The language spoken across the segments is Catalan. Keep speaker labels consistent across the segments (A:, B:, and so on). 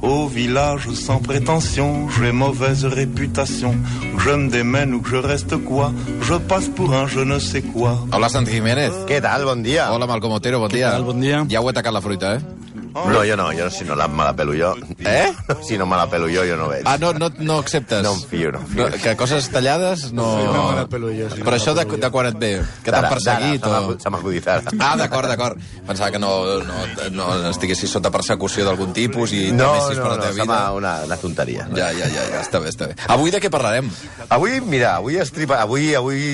A: Au village sans prétention, j'ai mauvaise réputation. Que je me démène ou que je reste quoi, je passe pour un je ne sais quoi.
B: Hola, Santi Jiménez.
C: Què tal? Bon dia.
B: Hola, Malcom Otero, bon dia.
D: tal? Bon dia.
B: Ja heu atacat la fruita, eh?
C: No, jo no, jo si no la, me la pelo jo.
B: Eh?
C: Si no me la pelo jo, jo no veig.
B: Ah, no, no, no acceptes.
C: No em fio, no em fio.
B: que coses tallades no...
D: Sí, no me la pelo jo, sí,
B: Però
D: no
B: això
D: me
B: de,
D: la pelo jo.
B: de quan et ve? Que t'han
C: Ara,
B: perseguit
C: ara,
B: o...
C: Se m'ha acudit ara.
B: Ah, d'acord, d'acord. Pensava que no, no, no estiguessis sota persecució d'algun tipus i
C: No,
B: temessis per
C: no,
B: la
C: no,
B: teva
C: se m'ha
B: vida.
C: una, una tonteria.
B: Ja, ja, ja, ja, està bé, està bé. Avui de què parlarem?
C: Avui, mira, avui estripa... Avui, avui...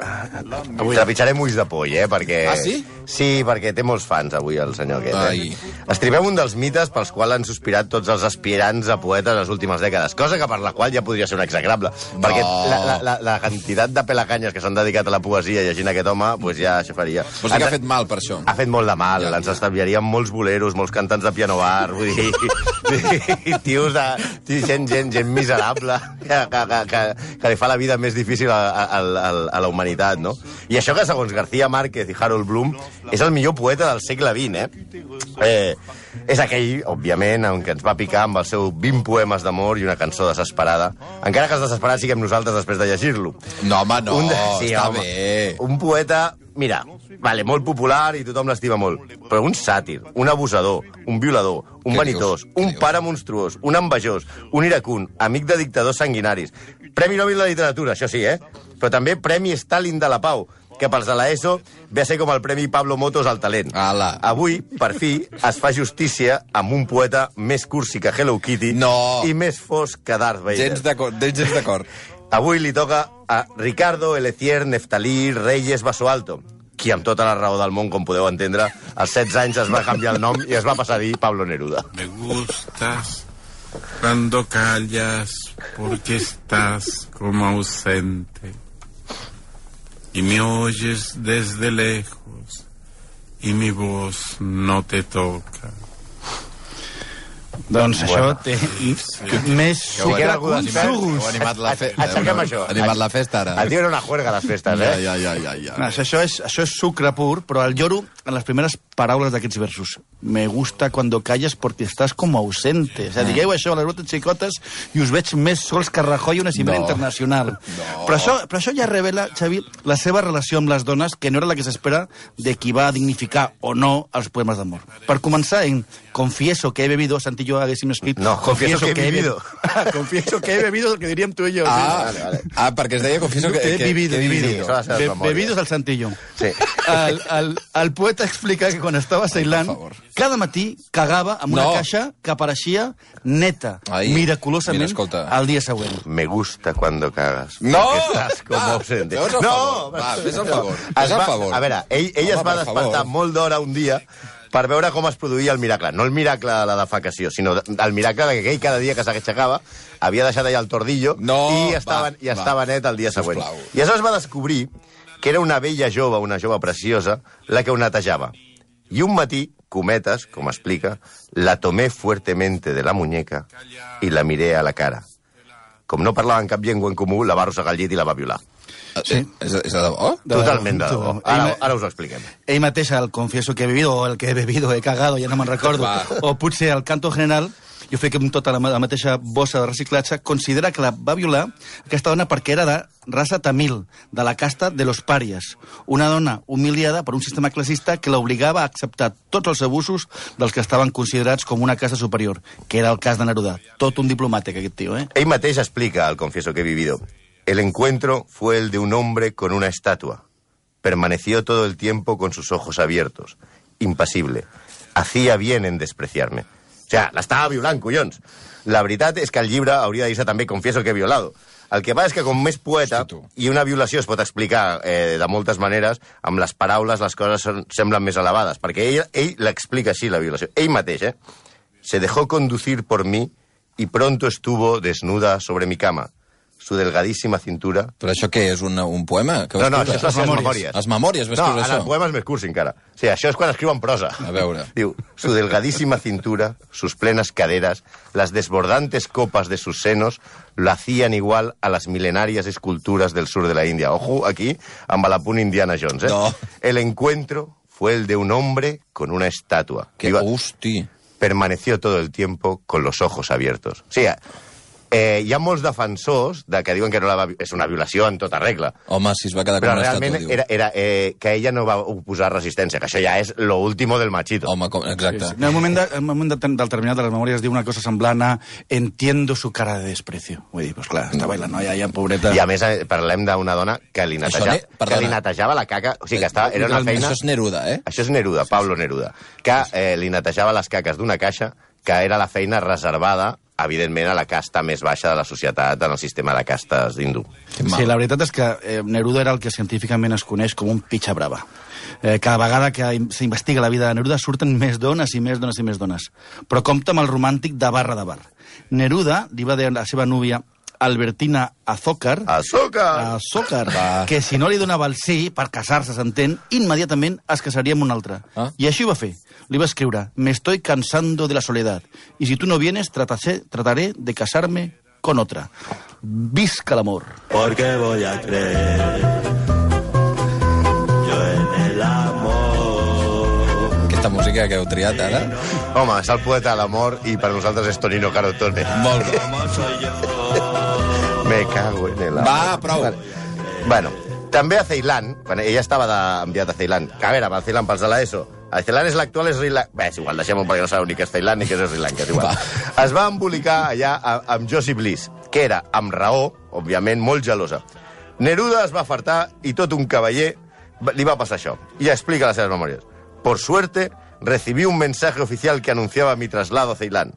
C: Avui. Trepitjarem ulls de poll, eh? Perquè...
B: Ah, sí?
C: Sí, perquè té molts fans avui el senyor aquest.
B: Ai.
C: Eh? Estripem un dels mites pels quals han sospirat tots els aspirants a poetes les últimes dècades, cosa que per la qual ja podria ser un execrable.
B: No.
C: Perquè la, la, la, la quantitat de pelacanyes que s'han dedicat a la poesia llegint aquest home, doncs ja això faria.
B: Vols dir que
C: Ens-
B: ha fet mal per això?
C: ha fet molt de mal,
B: Ja,
C: ja, ens estalviarien molts boleros, molts cantants de piano bar, vull dir, i tios de, tios, gent, gent, gent miserable, que, que, que, que, que li fa la vida més difícil a, a, a, a la humanitat, no? I això que, segons García Márquez i Harold Bloom, és el millor poeta del segle XX, eh? eh és aquell, òbviament, en què ens va picar amb el seu 20 poemes d'amor i una cançó desesperada, encara que els desesperats siguem nosaltres després de llegir-lo.
B: No, home, no,
C: Un de-
B: Oh, està
C: home.
B: bé.
C: Un poeta, mira, vale, molt popular i tothom l'estima molt, però un sàtir, un abusador, un violador, un
B: Què
C: vanitós,
B: dius? Què
C: un
B: dius?
C: pare monstruós, un envejós, un iracun, amic de dictadors sanguinaris. Premi Nobel de Literatura, això sí, eh? Però també Premi Stalin de la Pau, que pels de l'ESO ve a ser com el Premi Pablo Motos al talent.
B: Ala.
C: Avui, per fi, es fa justícia amb un poeta més cursi que Hello Kitty
B: No.
C: i més fosc que Darth Vader.
B: Gens d'acord, gens d'acord.
C: Avui li toca a Ricardo Elecier Neftalí Reyes Basoalto, qui amb tota la raó del món, com podeu entendre, als 16 anys es va canviar el nom i es va passar a dir Pablo Neruda.
E: Me gustas cuando callas porque estás como ausente. Y me oyes desde lejos y mi voz no te toca.
D: Doncs això té més
C: Si
B: ho-
C: queda
D: sucre
C: algú
D: que un
C: despert,
B: Heu
D: xurros.
B: animat la fe-
C: Aixequem això.
B: Heu animat la festa, ara. eh?
C: El tio era una juerga a les festes, eh?
B: Ja, ja, ja, ja.
D: No,
B: ja.
D: Això, això, és, això és sucre pur, però el lloro en les primeres paraules d'aquests versos. Me gusta cuando callas porque estás como ausente. O sea, digueu això a les votes xicotes i us veig més sols que Rajoy una cimera
B: No.
D: internacional.
B: No.
D: Però, això, però això ja revela, Xavi, la seva relació amb les dones, que no era la que s'espera de qui va dignificar o no els poemes d'amor. Per començar, en Confieso que he bebido, Santi i jo haguéssim escrit...
C: No, confieso que he
D: bebi-
C: vivido.
D: confieso que he bebido, el que diríem tu i jo.
B: Ah,
C: vale, vale.
B: ah, perquè es deia confieso que...
D: que,
B: que-
D: he vivido,
B: que he
C: vivido.
D: vivido.
C: Son las
D: Be-
C: memorias.
D: bebidos al Santillón.
C: Sí.
D: El, el, el poeta explica que quan estava a Ceilán,
B: favor.
D: cada matí cagava amb una
B: No.
D: caixa que apareixia neta,
B: Ai.
D: miraculosament,
B: Mira, escolta.
D: al dia següent.
C: Me gusta cuando cagas.
B: No!
C: Porque Estás como
B: Va,
C: ausente.
B: fes el favor. Va, fes el favor. Fes
C: Es
B: el
C: va,
B: favor.
C: A veure, ell, ell
B: Home,
C: es va
B: per
C: despertar
B: favor.
C: molt d'hora un dia per veure com es produïa el miracle. No el miracle de la defacació, sinó de- el miracle de que aquell cada dia que s'aixecava havia deixat allà el tordillo
B: No,
C: i, estava,
B: va,
C: i estava
B: va.
C: net el dia següent.
B: Sisplau.
C: I aleshores va descobrir que era una vella jove, una jove preciosa, la que ho netejava. I un matí, cometes, com explica, la tomé fuertemente de la muñeca i la miré a la cara. Com no parlaven cap llengua en comú, la va arrossegar al llit i la va violar.
B: Sí. És, és de debò?
D: De
C: Totalment de
D: debò.
C: debò. Ara, ara us ho expliquem.
D: Ell mateix, el confieso que he bebido, o el que he bebido, he cagado, ja no me'n recordo,
B: Va.
D: o potser el canto general, jo crec que amb tota la, ma- la mateixa bossa de reciclatge, considera que la va violar aquesta dona perquè era de raça tamil, de la casta de los pàries. Una dona humiliada per un sistema classista que l'obligava a acceptar tots els abusos dels que estaven considerats com una casta superior, que era el cas de Neruda. Tot un diplomàtic, aquest tio, eh?
C: Ell mateix explica, al confieso que he vivido, el encuentro fue el de un hombre con una estatua. Permaneció todo el tiempo con sus ojos abiertos, impasible. Hacía bien en despreciarme. O sea, l'estava violant, collons. La veritat és que el llibre hauria de dir-se també Confieso que he violado. El que passa és que com més poeta,
B: Hosti, tu.
C: i una violació es pot explicar eh, de moltes maneres, amb les paraules les coses són, semblen més elevades, perquè ell, ell l'explica així, la violació. Ell mateix, eh? Se dejó conducir por mí y pronto estuvo desnuda sobre mi cama. Su delgadísima cintura...
B: Però això què és, un, un poema? Que va
C: No, no,
B: escriure?
C: això és les seves memòries.
B: Les memòries, va
C: no,
B: escriure
C: en el
B: això?
C: poema és més cursi encara. O sigui, això és quan escriu en prosa.
B: A veure.
C: Diu, su delgadísima cintura, sus plenas caderas, las desbordantes copas de sus senos, lo hacían igual a las milenarias esculturas del sur de la India. Ojo, aquí, amb la punt Indiana Jones, eh?
B: No.
C: El encuentro fue el de un hombre con una estatua.
B: Que,
C: Iba-
B: hosti.
C: permaneció todo el tiempo con los ojos abiertos. O sigui, eh, hi ha molts defensors de que diuen que no la va... vi- És una violació en tota regla.
B: Home, si es va quedar
C: Però
B: Ah, com una
C: realment
B: estàtua, diu.
C: era, era eh, que ella no va oposar resistència, que això ja és lo último del machito.
B: Home, com... exacte.
D: En el moment, de, en el moment de, determinat de les memòries diu una cosa semblant a entiendo su cara de desprecio. Vull dir, pues clar, estava la noia ja, pobreta.
C: I a més eh, parlem d'una dona que li,
B: Això
C: neteja,
B: ne-
C: que
B: perdona.
C: li netejava la caca, o sigui que estava, era una feina...
B: Això és Neruda, eh?
C: Això és Neruda, Pablo Neruda, que eh, li netejava les caques d'una caixa que era la feina reservada, evidentment, a la casta més baixa de la societat en el sistema de castes hindú.
B: Que mal.
D: Sí, la veritat és que eh, Neruda era el que científicament es coneix com un pitxa brava. Eh, cada vegada que im- s'investiga la vida de Neruda surten més dones i més dones i més dones. Però compta amb el romàntic de barra de bar. Neruda li va dir a la seva núvia Albertina Azócar,
C: Azúcar!
D: Azócar,
B: Va.
D: que si no li donava el sí per casar-se, s'entén, immediatament es casaria amb un altre.
B: Ah.
D: I així ho va fer. Li va escriure, me estoy cansando de la soledad, y si tú no vienes, trataré, trataré de casarme con otra. Visca l'amor.
F: Porque voy a creer yo en el amor.
B: Aquesta música que heu triat ara...
C: Home, és el poeta de l'amor i per nosaltres és Tonino Carotone.
B: Molt bé.
F: Como soy yo.
C: Me cago en el amor.
B: Va, prou.
C: Vale. Bueno, també a Ceilan, quan ella estava de, enviat a Ceilan. A veure, va a Ceilan pels de l'ESO. A Ceilan és l'actual Sri Lanka. Bé, és igual, deixem-ho perquè no sabeu ni què és Ceilan ni què és Sri Lanka, és igual.
B: Va.
C: Es va embolicar allà a- amb Josie Bliss, que era, amb raó, òbviament, molt gelosa. Neruda es va fartar i tot un cavaller va- li va passar això. I explica les seves memòries. Por suerte, recibí un mensaje oficial que anunciaba mi traslado a Ceilán.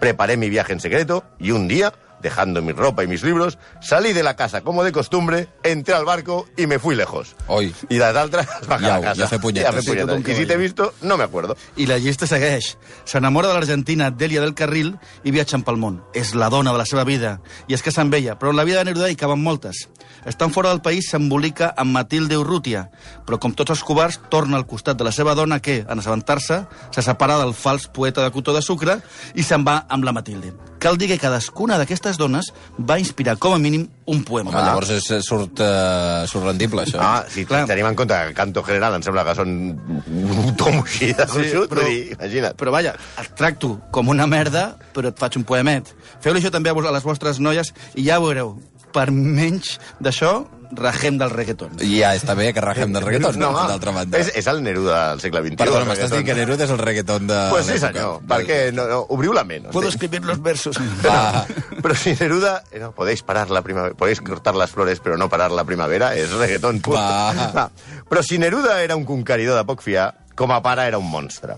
C: Preparé mi viaje en secreto y un día, dejando mi ropa y mis libros, salí de la casa como de costumbre, entré al barco y me fui lejos.
B: Oi.
C: Y las otras bajar
B: Ya,
C: a casa.
B: ya fue puñetas.
C: Ya fue
B: Sí, todo
D: un
C: Y si te he
D: caballo.
C: visto, no me acuerdo.
D: I la llista segueix. S'enamora de l'argentina Delia del Carril i viatgen pel món. És la dona de la seva vida i es casa amb ella, però en la vida de Neruda hi caben moltes. Estan fora del país, s'embolica amb Matilde Urrutia, però com tots els covards, torna al costat de la seva dona que, en assabentar-se, se separa del fals poeta de cotó de sucre i se'n va amb la Matilde. Cal dir que cadascuna d'aquestes dones va inspirar com a mínim un poema.
B: Home, Ah, llavors és, és- surt, uh, surt rendible, això.
C: Ah, sí,
D: Clar.
C: tenim en compte que el canto general em sembla que són un tom així de gruixut, vull dir, imagina't.
D: Però vaja, et tracto com una merda, però et faig un poemet. Feu-li això també a, vos, a les vostres noies i ja veureu, per menys d'això, ragem del reggaeton.
B: Ja està bé que rajem del reggaeton, no,
C: home,
B: d'altra banda.
C: És, és el Neruda del segle XXI.
B: Perdona,
C: el
B: m'estàs
C: reggaeton.
B: dient que Neruda és el reggaeton de
C: Pues sí,
B: l'època.
C: senyor, perquè no, no, obriu la ment.
D: Puedo escribir los versos.
B: Va,
C: Però si Neruda... eh, No, podéis parar la primavera, podéis cortar las flores, però no parar la primavera, és reggaeton pur.
B: Va.
C: Va. Però si Neruda era un conqueridor de poc fiar, com a pare era un monstre.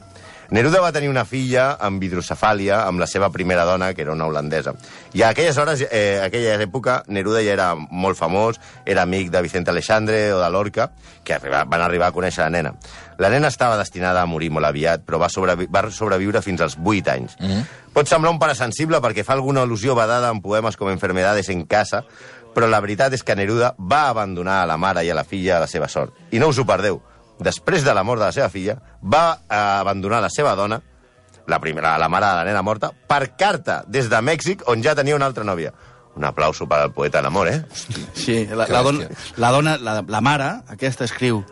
C: Neruda va tenir una filla amb hidrocefàlia, amb la seva primera dona, que era una holandesa. I a aquelles hores, eh, a aquella època, Neruda ja era molt famós, era amic de Vicente Alexandre o de Lorca, que arriba, van arribar a conèixer la nena. La nena estava destinada a morir molt aviat, però va, sobrevi va sobreviure fins als 8 anys. Mm -hmm. Pot semblar un pare sensible perquè fa alguna al·lusió badada en poemes com Enfermedades en casa, però la veritat és que Neruda va abandonar a la mare i a la filla a la seva sort. I no us ho perdeu. Després de la mort de la seva filla, va eh, abandonar la seva dona, la, primera, la mare de la nena morta, per carta des de Mèxic, on ja tenia una altra nòvia. Un aplauso per al poeta de l'amor, eh?
D: Sí, la, la, don, la dona, la, la mare, aquesta escriu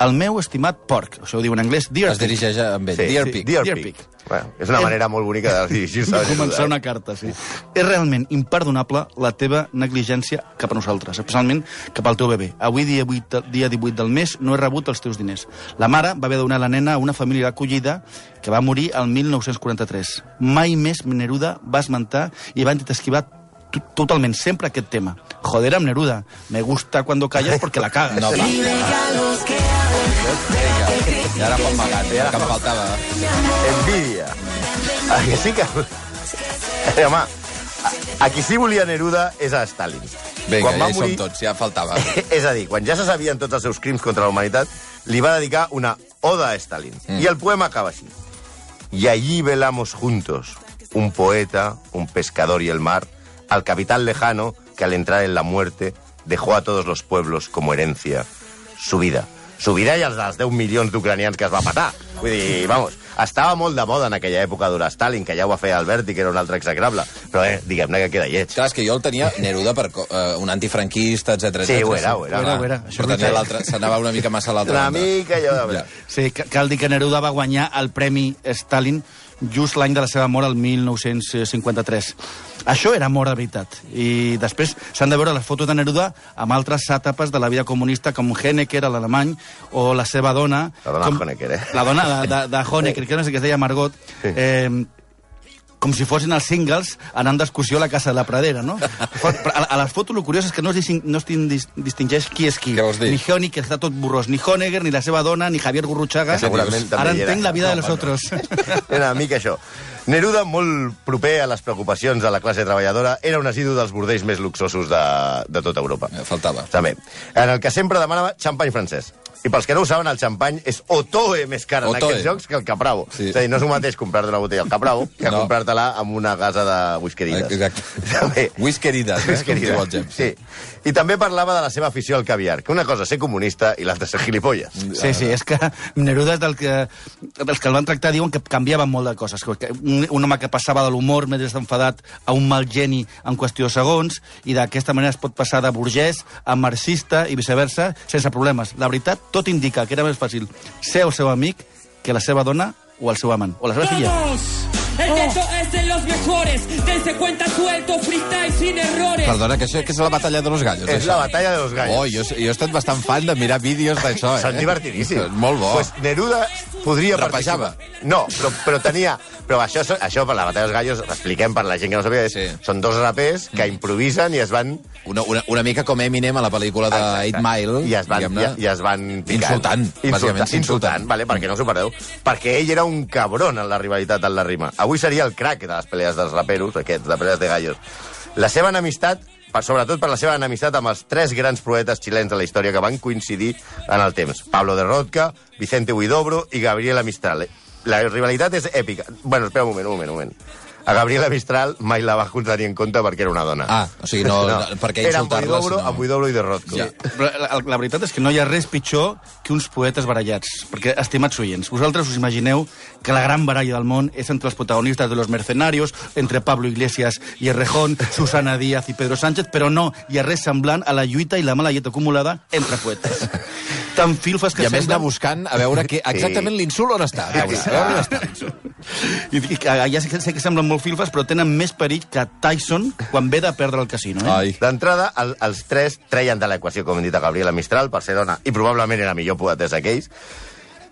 D: el meu estimat porc, això ho diu en anglès, dear
B: es dirigeix a- amb ell. Sí, Dear Pig.
C: Dear
D: Dear
C: Pig.
D: Pig.
C: Bueno, és una
D: Em-
C: manera molt bonica de dirigir-se a
D: començar
C: Neruda.
D: una carta, sí. És realment imperdonable la teva negligència cap a nosaltres, especialment cap al teu bebè. Avui, dia 8, dia 18 del mes, no he rebut els teus diners. La mare va haver de donar la nena a una família d'acollida que va morir el 1943. Mai més Neruda va esmentar i va intentar esquivar to- totalment sempre aquest tema. Joder amb Neruda, me gusta cuando callas porque la cagas.
B: No, va. Vinga, I ara pot pagar, ja que em faltava.
C: Envidia. A que sí que... Eh, home, a, a qui sí volia Neruda és a Stalin.
B: Vinga,
C: Quan va
B: ja hi som
C: morir-
B: tots, ja faltava.
C: És a dir, quan ja se sabien tots els seus crims contra la humanitat, li va dedicar una oda a Stalin. Mm. I el poema acaba així. Y allí velamos juntos, un poeta, un pescador y el mar, al capitán lejano que al entrar en la muerte dejó a todos los pueblos como herencia su vida. Su vida i els dels 10 milions d'ucranians que es va matar. Vull dir, vamos, estava molt de moda en aquella època d'Ura Stalin, que ja ho va fer Alberti, que era un altre execrable, però eh, diguem-ne que queda lleig.
B: Clar, és que jo el tenia Neruda per co- eh, un antifranquista, etc.
C: Sí, ho era, ho era.
D: Ho era, ho era. Això
B: Però
D: és
B: tenia
D: veritat.
B: l'altre, s'anava una mica massa a l'altra
C: Una
B: banda.
C: mica allò de...
B: Ja.
D: Sí, ca- cal dir que Neruda va guanyar el Premi Stalin just l'any de la seva mort, el 1953. Això era mort de veritat. I després s'han de veure les fotos de Neruda amb altres sàtapes de la vida comunista, com Honecker, l'alemany, o la seva dona...
C: La dona
D: com...
C: Honecker, eh?
D: La dona de, de, de Honecker, que no sé què es deia Margot.
C: Sí.
D: Eh, com si fossin els singles anant d'excursió a la Casa de la Pradera, no? Fot- A, a les fotos, el curiós és que no es, disting, no es tin- dis- distingeix qui és qui.
B: Què vols dir?
D: Ni Honi, que està tot burros, ni Honegger, ni la seva dona, ni Javier Gurruchaga.
C: Que segurament també
D: Ara
C: hi era.
D: entenc la vida de
C: No,
D: los
C: home,
D: otros.
C: Era una mica això. Neruda, molt proper a les preocupacions de la classe treballadora, era un assidu dels bordells més luxosos de, de tota Europa.
B: Eh, faltava.
C: També. En el que sempre demanava xampany francès. I pels que no ho saben, el xampany és otoe més car en
B: Otoe.
C: aquests jocs que el capravo.
B: Sí.
C: Sí. És a dir, no és el mateix comprar-te una botella al capravo que
B: No. Eh,
C: no. comprar-te-la amb una gasa de whiskerides.
B: Exacte.
C: També.
B: Whiskerides, eh? Com diu el
C: Whiskerides.
B: James.
C: Sí. I també parlava de la seva afició al caviar, que una cosa és ser comunista i l'altra és ser gilipolles.
D: Sí, sí, és que Neruda és del que... Els que el van tractar diuen que canviaven molt de coses. Que un, un home que passava de l'humor més desenfadat a un mal geni en qüestió de segons, i d'aquesta manera es pot passar de burgès a marxista i viceversa sense problemes. La veritat, tot indica que era més fàcil ser el seu amic que la seva dona o el seu amant, o la seva filla.
G: ¡Vamos!
B: Oh.
G: El teto es de los mejores. Dense cuenta suelto, freestyle sin errores.
B: Perdona, que això que és la batalla de los gallos.
C: És
B: això.
C: la batalla de los gallos.
B: Oh, jo, jo he estat bastant fan de mirar vídeos d'això, eh?
C: Són divertidíssims.
B: Molt bo.
C: Pues Neruda podria
B: Rapejava.
C: participar. No, però, però tenia... Però això, són- això per la Batalla dels Gallos, expliquem per la gent que no sàpiga, és,
B: Sí.
C: sí. són dos rapers que improvisen i es van...
B: Una, una, una mica com Eminem a la pel·lícula de Ah, Eight Mile.
C: I es van,
B: diguem-ne.
C: i, i es van picant.
B: Insultant, bàsicament
C: insultant,
B: s'insultant.
C: insultant. Vale, perquè no us ho perdeu. Perquè ell era un cabron en la rivalitat en la rima. Avui seria el crack de les pelees dels raperos, aquests, de pelees de gallos. La seva enemistat, per, sobretot per la seva enemistat amb els tres grans poetes xilens de la història que van coincidir en el temps. Pablo de Rodca, Vicente Huidobro i Gabriela Mistral. La rivalitat és èpica. Bueno, espera un moment, un moment, un moment. A Gabriela Mistral mai la vas tenir en compte perquè era una dona.
B: Ah, o sigui, no- no, per què
C: Era amb
B: insultar-la,
C: Huidobro,
B: sinó-
C: amb Huidobro i de Rodca.
B: Ja.
D: Però la, la veritat és que no hi ha res pitjor que uns poetes barallats, perquè, estimats oients, vosaltres us imagineu que la gran baralla del món és entre els protagonistes de Los Mercenarios, entre Pablo Iglesias i Errejón, Susana Díaz i Pedro Sánchez, però no hi ha res semblant a la lluita i la mala llet acumulada entre poetes. Tan filfes que
B: I a més anar
D: semblen...
B: buscant a veure que exactament l'insult on està. A veure, a veure on està l'insult.
D: I, i, que- ja sé que, sé que semblen molt filfes, però tenen més perill que Tyson quan ve de perdre el casino. Eh?
B: Ai.
C: D'entrada, el, els tres treien de l'equació, com hem dit a Gabriela Mistral, per ser dona, i probablement era millor poetesa que ells.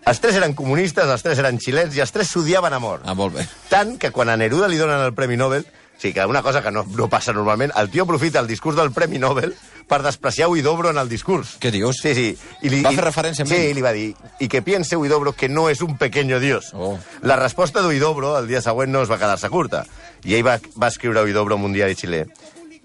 C: Els tres eren comunistes, els tres eren xilens i els tres s'odiaven a mort.
B: Ah, molt bé.
C: Tant que quan a Neruda li donen el Premi Nobel, o sigui que una cosa que no, no passa normalment, el tio aprofita el discurs del Premi Nobel per despreciar Huidobro en el discurs.
B: Què dius?
C: Sí, sí. I
B: Va fer referència a
C: Sí,
B: ell?
C: i li va dir, i que piense Huidobro que no és un pequeño dios.
B: Oh.
C: La resposta d'Huidobro el dia següent no es va quedar-se curta. I ell va, va escriure a Huidobro en un diari xilè.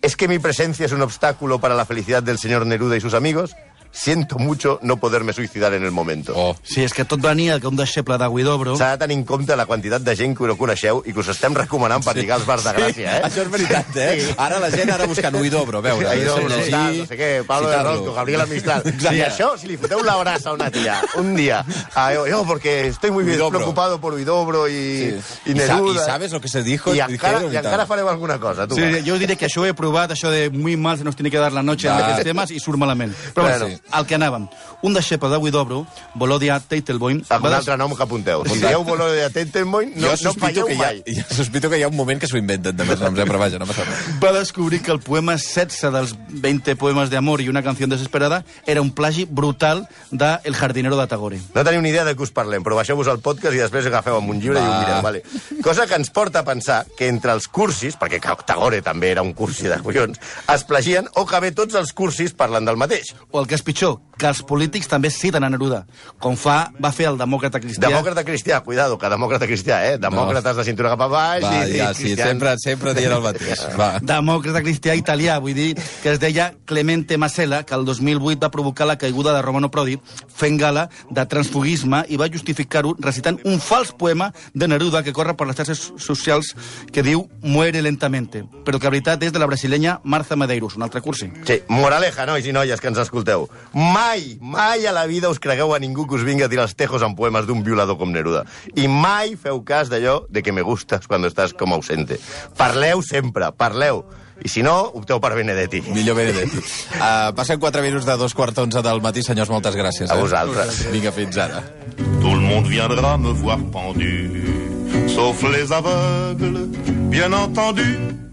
C: ¿Es que mi presencia es un obstáculo para la felicidad del señor Neruda y sus amigos? Siento mucho no poderme suicidar en el momento.
B: Oh.
D: Sí, és que tot venia que un deixeble de Guidobro...
C: S'ha de tenir en compte la quantitat de gent que no coneixeu i que us estem recomanant per lligar als bars de Gràcia, eh?
B: Això és veritat, eh? Ara la gent ara buscant Uidobro, a veure.
C: Ahí no,
B: llegir,
C: tal, no sé què, Pablo de
B: citar-lo.
C: Rosco, Gabriela Mistral.
B: Exacte.
C: I això, si li foteu la brasa a una tia, un dia, a, yo, yo, porque estoy muy bien
B: Huidobro.
C: preocupado por Huidobro y,
B: Sí.
C: y
B: I sa-
C: Neruda.
B: i sabes lo que se dijo,
C: I
B: dijeron
C: encara,
B: y
C: i
B: tal.
C: encara fareu alguna cosa, tu.
D: Sí, jo diré que això ho he provat, això de muy mal se nos tiene que dar la noche en
B: Va.
D: aquests temes, i surt malament. Però
C: Bueno.
D: bueno, sí. al que anàvem. Un deixeble de Widobro, Volodia Teitelboim...
C: Amb un altre nom que apunteu. Si dieu Bolo de Tentenmoin,
B: Jo
C: no, no
B: sospito,
C: falleu
B: que hi ha,
C: mai.
B: jo sospito que hi ha un moment que s'ho inventen, també, no, però vaja, no passa res.
D: va descobrir que el poema 16 dels 20 poemes d'amor i una canció desesperada era un plagi brutal de El jardinero de Tagore.
C: No teniu ni idea de què us parlem, però baixeu-vos al podcast i després agafeu amb un llibre i
B: Va.
C: ho mireu. Vale. Cosa que ens porta a pensar que entre els cursis, perquè Tagore també era un cursi de collons, es plagien o que bé tots els cursis parlen del mateix.
D: O el que és pitjor, que els polítics també citen a Neruda, com fa, va fer el demòcrata cristià.
C: Demòcrata cristià, cuidado, que demòcrata cristià, eh? Demòcrates de cintura cap a baix
B: Va,
C: i,
B: ja,
C: i
B: sí,
C: cristians.
B: sempre, sempre deien el mateix. Va.
D: demòcrata cristià italià, vull dir, que es deia Clemente Massella, que el 2008 va provocar la caiguda de Romano Prodi fent gala de transfugisme i va justificar-ho recitant un fals poema de Neruda que corre per les xarxes socials que diu Muere lentamente, però que la veritat és de la brasilenya Marza Medeiros, un altre cursi.
C: Sí, moraleja, nois i noies que ens escolteu. Mai, mai a la vida us cregueu a ningú que us vingui a tirar els tejos en poemes d'un violador com Neruda. I mai feu cas d'allò de que me gustas cuando estás com ausente. Parleu sempre, parleu. I si no, opteu per Benedetti.
B: Millor Benedetti. Uh, passen 4 minuts de dos quarts onze del matí, senyors, moltes gràcies.
C: A vosaltres.
B: Vinga, fins ara.
A: Tout le monde viendra me voir pendu. sauf les aveugles, bien entendu.